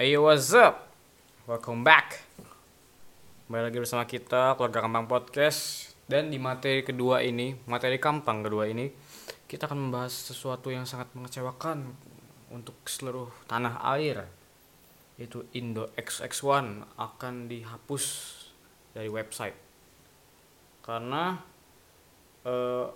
Hey what's up? Welcome back. Kembali lagi bersama kita keluarga Kampang Podcast dan di materi kedua ini, materi Kampang kedua ini, kita akan membahas sesuatu yang sangat mengecewakan untuk seluruh tanah air. Yaitu Indo XX1 akan dihapus dari website. Karena eh,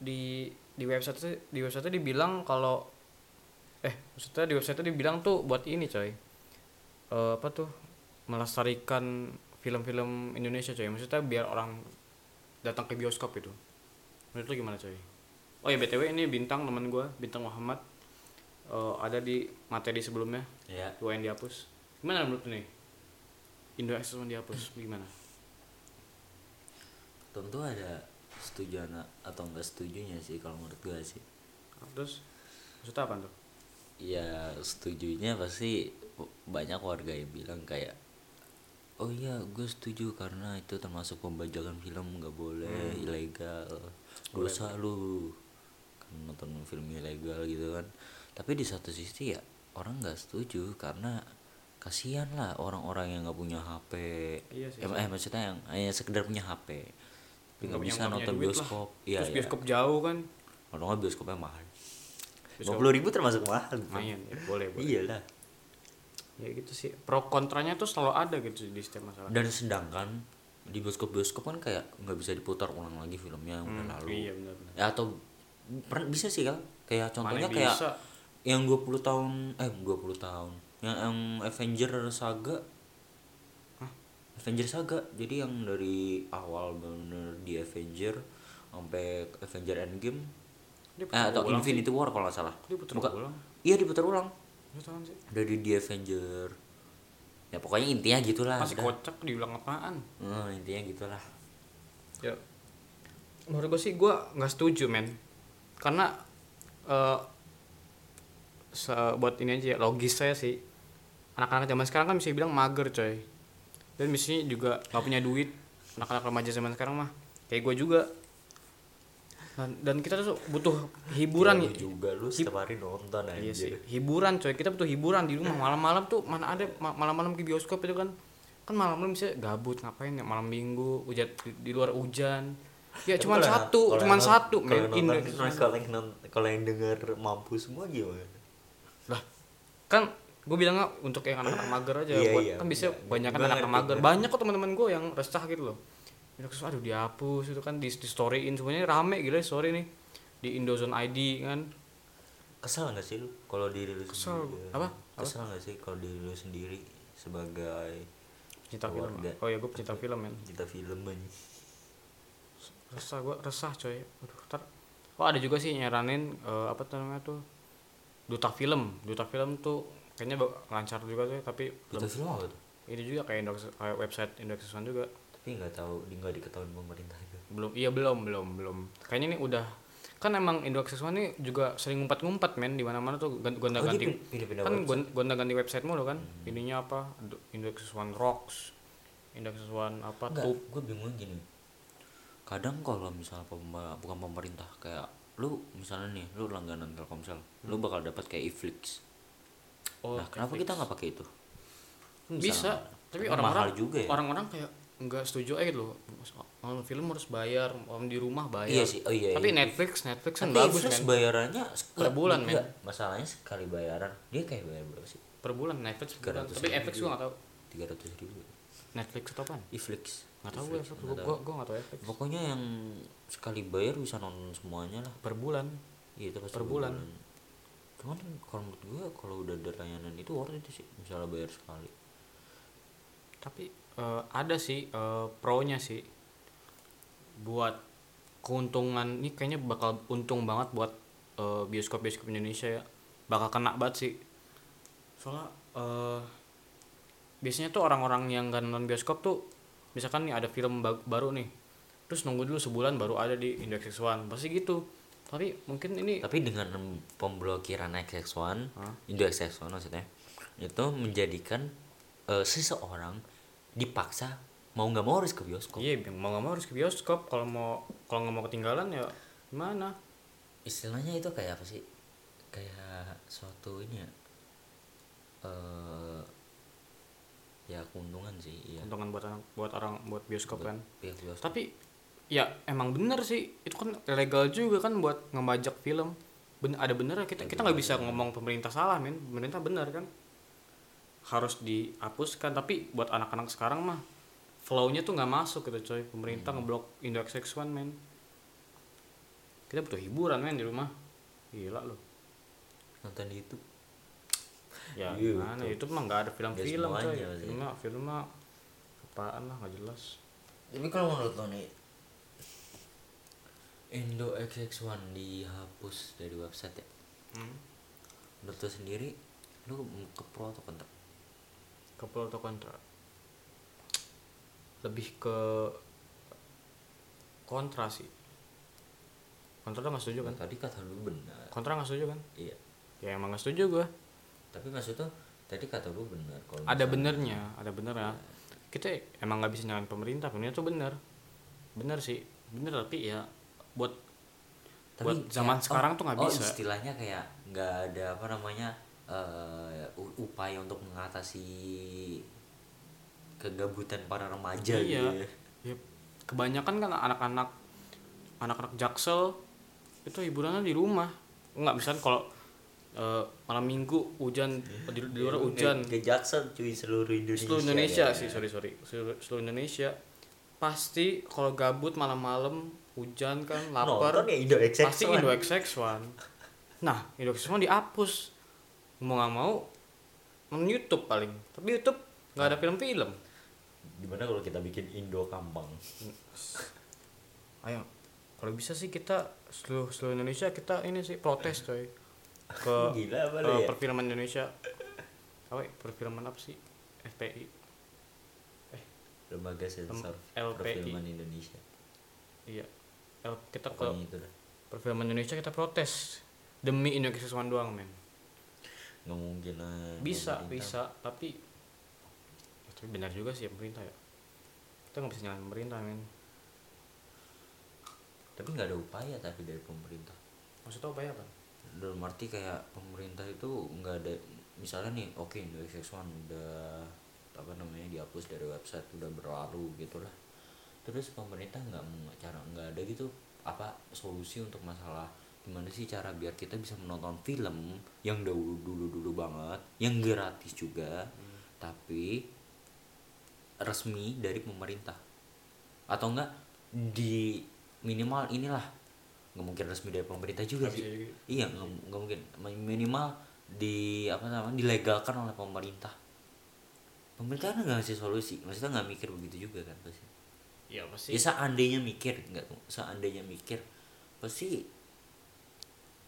di di website di website dibilang kalau eh maksudnya di website dibilang tuh buat ini coy eh, apa tuh melestarikan film-film Indonesia coy maksudnya biar orang datang ke bioskop itu menurut lu gimana coy oh ya btw ini bintang teman gue bintang Muhammad Eh, ada di materi sebelumnya Ya, dua yang dihapus gimana menurut lu nih Indo Access One dihapus gimana tentu ada setuju ana- atau enggak setujunya sih kalau menurut gue sih. terus maksudnya apa tuh Ya, setujunya pasti banyak warga yang bilang kayak Oh iya, gue setuju karena itu termasuk pembajakan film nggak boleh Hmm. ilegal, dosa lu kan nonton film ilegal gitu kan. Tapi di satu sisi ya orang nggak setuju karena kasihan lah orang-orang yang nggak punya HP, Iya sih, Em- eh, maksudnya yang hanya sekedar punya HP, tapi nggak punya- nggak punya bisa nonton duit lah. bioskop, iya terus iya. bioskop jauh kan Kalau nggak bioskopnya mahal. Bioskop. Lima puluh ribu termasuk mahal. Bro. lumayan ya, boleh boleh Nah, Iya lah. ya gitu sih pro kontranya tuh selalu ada gitu di setiap masalah Dan sedangkan di bioskop-bioskop kan kayak nggak bisa diputar ulang lagi filmnya yang udah Hmm, lalu. iya benar-benar Ya, atau pernah bisa sih kan? Kayak contohnya Mana kayak bisa. yang 20 tahun eh 20 tahun yang, yang Avenger Saga Avenger Saga jadi yang dari awal bener di Avenger sampai Avenger Endgame Dia eh, putar atau ulang Infinity War kalau nggak salah Dia putar Bukan- ulang. iya diputar ulang Lu tahu sih dari di Avenger ya pokoknya intinya gitulah masih Ah, udah. kocak diulang apaan Hmm, intinya gitulah ya menurut gue sih gue nggak setuju men karena eh se- buat ini aja ya, logis saya sih anak-anak zaman sekarang kan bisa bilang mager coy dan misalnya juga nggak punya duit anak-anak remaja zaman sekarang mah kayak gue juga dan, dan kita tuh butuh hiburan ya. Iya, lu juga lu setiap hari nonton aja Iya sih. Hiburan coy, kita butuh hiburan di rumah malam-malam tuh mana ada ma- malam-malam ke bioskop itu kan. Kan malam-malam bisa gabut ngapain ya malam Minggu, hujan di, di luar hujan. Ya Tapi cuman kalau- satu, kalau cuman yang- satu kalau men yang nonton Indo- terus kalau yang non- kalau yang denger mampu semua gimana Lah, kan gue bilangnya untuk yang anak-anak mager aja Iya, buat iya, kan bisa iya. banyak Gua anak-anak ngerti, mager ngerti. banyak kok teman-teman gue yang resah gitu loh bilang aduh dihapus itu kan di, di storyin semuanya rame gila story nih di Indozone ID kan kesal nggak sih lu kalau diri lu Kesal. sendiri Apa? kesal nggak sih kalau diri lu sendiri sebagai pencinta film Keluarga. oh ya gue pencinta film men kita film aja resah gue resah coy aduh ntar oh ada juga sih nyaranin eh, apa tuh namanya tuh duta film duta film tuh kayaknya bak- lancar juga tuh tapi kita belum- film apa tuh ini juga kayak, Indox- kayak website Indoksesan juga tapi nggak tahu di nggak diketahui pemerintah itu belum iya belum belum belum kayaknya ini udah kan emang Indoksesan ini juga sering ngumpet-ngumpet men di mana-mana tuh Oh, dia gonta-ganti pin- pindah-pindah kan website. Hmm. gonta-ganti website mulu kan ininya apa Indo- Indoksesan rocks Indoksesan apa Enggak, tuh gue bingung gini. Kadang kalau misalnya pema- bukan pemerintah kayak lu misalnya nih, lu langganan Telkomsel, lu bakal dapat kayak Hmm. Iflix. Oh, nah, kenapa kita nggak pakai itu? Hmm, bisa tapi Karena mahal orang-orang juga ya. orang-orang kayak nggak setuju aja gitu loh nonton film harus bayar nonton di rumah bayar Iya sih, oh iya, tapi iya. Netflix Netflix kan Tapi bagus Iflix men bayarannya Per bulan, men. enggak. Masalahnya sekali bayaran, dia kayak bayar berapa sih? per bulan Netflix per bulan. 300 tapi ribu. Netflix gua nggak tahu 300 ribu. Netflix itu apaan Iflix. nggak tahu gue Iflix, Netflix nggak gua tahu. gua gua nggak tahu Netflix Pokoknya yang sekali bayar bisa nonton semuanya lah. per bulan Iya itu pasti Per per bulan. bulan. Cuman kan kalau menurut gue kalau udah ada layanan itu worth it sih. Misalnya bayar sekali. tapi eh, ada sih eh, pro-nya sih buat keuntungan ini kayaknya bakal untung banget buat eh, bioskop-bioskop Indonesia ya bakal kena banget sih soalnya eh, biasanya tuh orang-orang yang gak nonton bioskop tuh misalkan nih ada film ba- baru nih terus nunggu dulu sebulan baru ada di Index X1 pasti gitu tapi mungkin ini Tapi dengan pemblokiran XX1, Indo XX1 maksudnya, itu menjadikan eh, seseorang dipaksa mau nggak mau harus ke bioskop. iya mau gak mau harus ke bioskop kalau mau kalau nggak mau ketinggalan ya gimana Istilahnya itu kayak apa sih? Kayak suatu ini ya, eh, ya keuntungan sih iya Untungan buat orang, buat orang buat bioskop kan. pihak bioskop Tapi ya emang bener sih itu kan legal juga kan buat ngebajak film. Ben, ada bener ya, kita kita nggak bisa ngomong pemerintah salah men pemerintah bener kan harus dihapuskan tapi buat anak-anak sekarang mah flow-nya tuh nggak masuk gitu coy pemerintah Hmm. ngeblok Indo XX1 men kita butuh hiburan men di rumah gila loh nonton di YouTube ya Iya, gimana YouTube mah nggak ada film-film Nggak coy semuanya pasti. film mah film mah apaan lah nggak jelas tapi kalau menurut lo nih Indo XX1 dihapus dari website ya hmm. menurut lo sendiri lo ke pro atau kontra ke pro atau kontra lebih ke kontra sih kontra lo nggak setuju kan tadi kata lu benar kontra nggak setuju kan iya ya emang nggak setuju gue tapi maksud tuh tadi kata lu benar kalau ada misalnya- benernya ada benernya kita emang nggak bisa nyalain pemerintah pemerintah tuh bener bener sih bener tapi ya buat buat kayak- zaman oh, sekarang tuh nggak oh, bisa istilahnya kayak nggak ada apa namanya eh, u- upaya untuk mengatasi kegabutan para remaja iya gitu ya. Ya, kebanyakan kan anak-anak anak-anak jaksel itu hiburannya di rumah nggak misalnya kalau eh, malam minggu hujan di, di Iya, luar hujan Ke, ke Jaksel cuy seluruh Indonesia. seluruh Indonesia ya. sih sorry sorry seluruh, seluruh Indonesia pasti kalau gabut malam-malam hujan kan lapar Nonton ya Indo XX. pasti Indo XX1 nah Indo XX1 dihapus mau nggak mau men YouTube paling tapi YouTube nggak ada film-film Gimana kalau kita bikin Indo Kampang? ayo kalau bisa sih kita seluruh seluruh Indonesia kita ini sih protes coy ke Gila apa lu eh, ya? perfilman Indonesia apa ya? perfilman apa sih FPI Lembaga Sensor LPI. Perfilman Indonesia. iya El, kita ke Pokoknya itu dah. perfilman Indonesia kita protes demi Indonesia One doang men Nggak mungkin lah. bisa Iya, pemerintah. bisa tapi ya, tapi benar juga sih ya, pemerintah ya kita nggak bisa nyalain pemerintah men Tapi nggak ada upaya tapi dari pemerintah. maksudnya apa ya bang dalam arti kayak pemerintah itu nggak ada misalnya nih oke Indo XX1 udah apa namanya dihapus dari website udah berlalu gitulah terus pemerintah nggak mau cara nggak ada gitu apa solusi untuk masalah gimana sih cara biar kita bisa menonton film yang dahulu dulu dulu banget yang gratis juga Hmm. tapi resmi dari pemerintah atau enggak di minimal inilah nggak mungkin resmi dari pemerintah juga Nggak sih bisa juga. iya nggak nggak mungkin minimal di apa namanya dilegalkan oleh pemerintah pemerintah kan nggak ngasih solusi maksudnya nggak mikir begitu juga kan pasti ya pasti ya seandainya mikir nggak tuh seandainya mikir pasti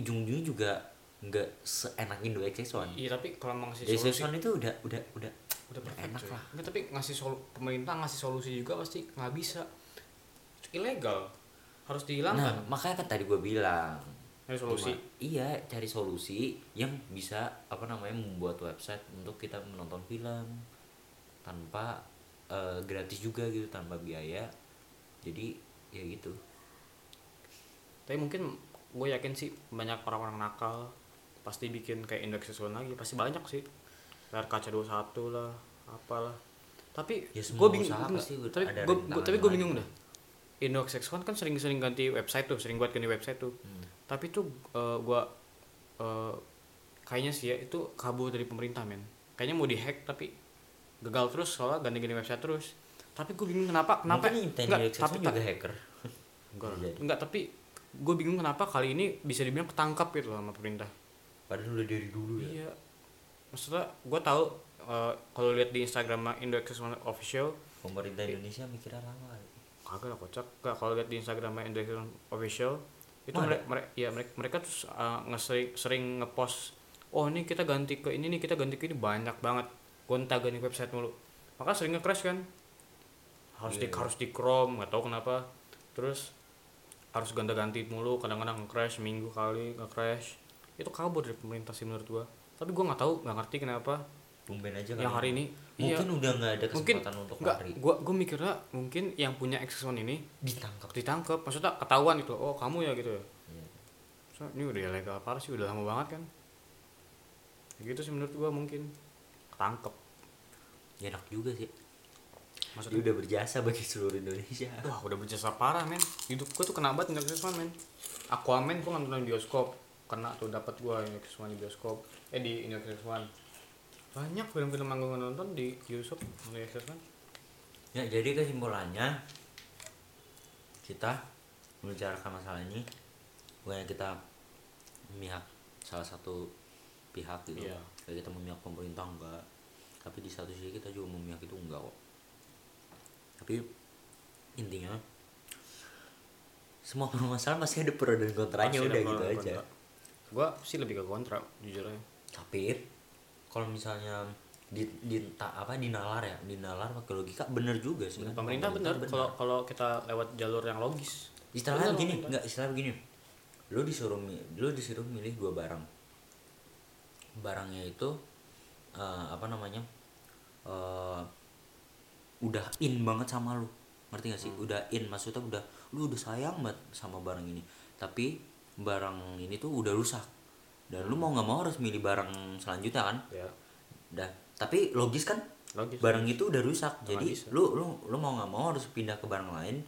ujung-ujungnya juga nggak seenak Indo XX1 iya tapi kalau emang ngasih Indo solusi XX1 itu udah udah udah udah udah perfect Ya, enak cuy. lah Nggak, tapi ngasih sol- pemerintah ngasih solusi juga pasti nggak bisa ilegal harus nah dihilangkan makanya kan tadi gue bilang Cari solusi Cuma- iya cari solusi yang bisa apa namanya membuat website untuk kita menonton film tanpa eh, gratis juga gitu tanpa biaya jadi ya gitu tapi mungkin gue yakin sih banyak orang-orang nakal pasti bikin kayak indeks sesuatu lagi pasti banyak sih layar kaca 21 lah apalah tapi Ya, gue semua bingung usaha bingung. pasti ada tapi gue rintangan tapi gue yang bingung ada. dah Indox X1 kan sering-sering ganti website tuh, sering buat ganti website tuh. Hmm. Tapi tuh eh, gua eh, kayaknya sih ya itu kabur dari pemerintah men. Kayaknya mau dihack tapi gagal terus soalnya ganti-ganti website terus. Tapi gue bingung kenapa kenapa mungkin Nintendo enggak, XS1 tapi tak- juga hacker Enggak, Bisa jadi. enggak tapi gue bingung kenapa kali ini bisa dibilang ketangkap gitu loh sama pemerintah. padahal udah dari dulu ya Iya. Maksudnya gue tahu eh, kalau lihat di Instagram Indox official pemerintah Indonesia mikirnya lama kagak lah kocak. Enggak kalau lihat di Instagram Indox official itu Mana? mereka mereka ya mereka mereka tuh eh, ngesering sering ngepost oh ini kita ganti ke ini nih kita ganti ke ini banyak banget gonta ganti website mulu maka sering nge-crash kan harus di Iya. harus di Chrome nggak tahu kenapa terus harus ganti-ganti mulu kadang-kadang nge-crash minggu kali nge-crash itu kabur dari pemerintah sih menurut gua tapi gua nggak tahu nggak ngerti kenapa tumben aja kan yang hari ini mungkin iya, udah nggak ada mungkin kesempatan untuk nggak lari gua gua mikirnya mungkin yang punya X1 ini ditangkap ditangkap maksudnya ketahuan gitu oh kamu ya gitu ya Iya. So, ini udah legal parah sih udah lama banget kan Ya gitu sih menurut gua mungkin ketangkep Ya, enak juga sih Maksudnya? Maksudnya? udah berjasa bagi seluruh Indonesia Wah udah berjasa parah men Hidup gue tuh kena banget Netflix men Aquaman gue nonton di bioskop Kena tuh dapat gue Netflix One di bioskop Eh di Netflix One Banyak film-film yang gue nonton di bioskop Netflix One ya jadi kesimpulannya kita membicarakan masalah ini bukannya kita memihak salah satu pihak gitu Iya. Kayak kita memihak pemerintah enggak tapi di satu sisi kita juga memihak itu enggak kok tapi intinya semua permasalahan masih ada pro dan kontranya Pasti ada udah gitu pro dan aja kontra. Gue sih lebih ke kontra jujur aja tapi kalau misalnya di, di ta- apa dinalar ya dinalar pakai logika bener juga sih kan. Pemerintah bener kalau kalau kita lewat jalur yang logis istilahnya Bener, begini bener. nggak istilah begini lu disuruh mi- lu disuruh milih dua barang barangnya itu eh, apa namanya eh, udah in banget sama lu ngerti gak sih udah in maksudnya udah lu udah sayang banget sama barang ini tapi barang ini tuh udah rusak dan lu mau nggak mau harus milih barang selanjutnya kan Ya Dah, tapi logis kan? Logis. Barang itu udah rusak. Nggak Jadi bisa. lu lu lu mau nggak mau harus pindah ke barang lain.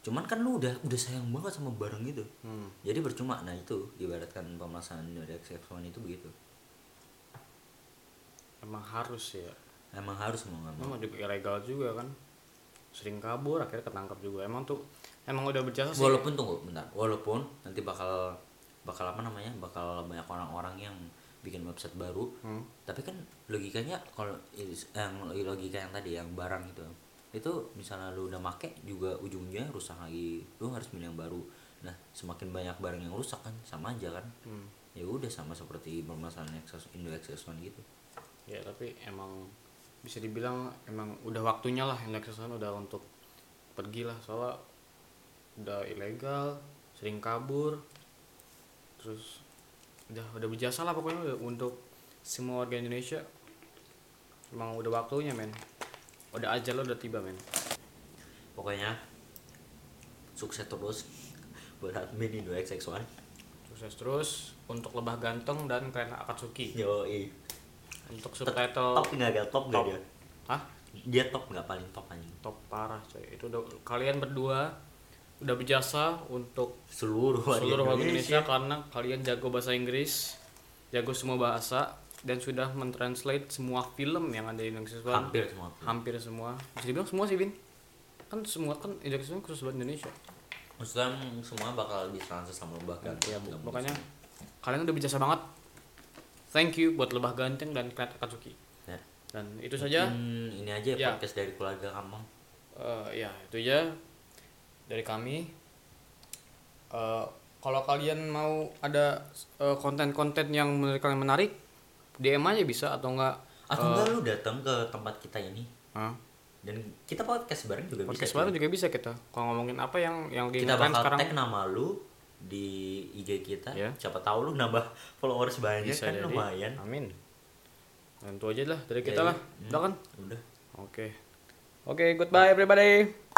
Cuman kan lu udah udah sayang banget sama barang itu. Hmm. Jadi percuma. Nah, itu ibaratkan pemasangan dari X1 itu begitu. Emang harus ya Emang harus mau nggak mau. Emang juga ilegal juga kan Sering kabur akhirnya ketangkap juga Emang tuh Emang udah berjasa sih Walaupun tunggu bentar. Walaupun nanti bakal bakal apa namanya? Bakal banyak orang-orang yang bikin website baru. Hmm. Tapi kan logikanya kalau is- yang logika yang tadi yang barang itu itu misalnya lu udah make juga ujungnya rusak lagi lu harus milih yang baru nah semakin banyak barang yang rusak kan sama aja kan Hmm. ya udah sama seperti permasalahan Nexus- Indo Access One gitu Ya tapi emang bisa dibilang emang udah waktunya lah Nexusan udah untuk pergi lah soalnya udah ilegal, sering kabur, terus udah udah berjasa lah pokoknya udah untuk semua warga Indonesia emang udah waktunya men udah aja lo udah tiba men pokoknya sukses terus buat admin Indo Access One sukses terus untuk lebah ganteng dan keren Akatsuki yoi untuk top subtitle nggak dia top nggak dia hah dia top nggak paling top anjing top parah coy itu udah kalian berdua udah berjasa untuk seluruh warga seluruh warga Indonesia karena kalian jago bahasa Inggris, jago semua bahasa dan sudah mentranslate semua film yang ada di Indonesia sekarang. hampir semua Hampir semua. Bisa dibilang semua sih, Bin. Kan semua kan Indonesia kan khusus buat Indonesia. Maksudnya semua bakal ditranslate sama lembah kan? Iya, Bu. Nggak mungkin. Makanya kalian udah berjasa banget. Thank you buat Lebah Ganteng dan Krat Akatsuki. Ya. Dan itu saja Hmm, ini Ya. aja ya podcast dari keluarga kampung. Eh, ya itu aja dari kami Eh, kalau kalian mau ada eh, konten-konten yang menurut kalian menarik DM aja bisa atau enggak Atau enggak lu datang ke tempat kita ini Hah? dan kita podcast bareng juga podcast bisa. baru juga bisa kita kalau ngomongin apa yang yang lagi Kita ngetren bakal sekarang tag nama lu di IG kita. Ya. Siapa tahu lu nambah followers banyak bisa kan Iya jadi lumayan. amin dan itu aja lah dari Ya, kita ya. lah udah kan Udah. oke oke goodbye everybody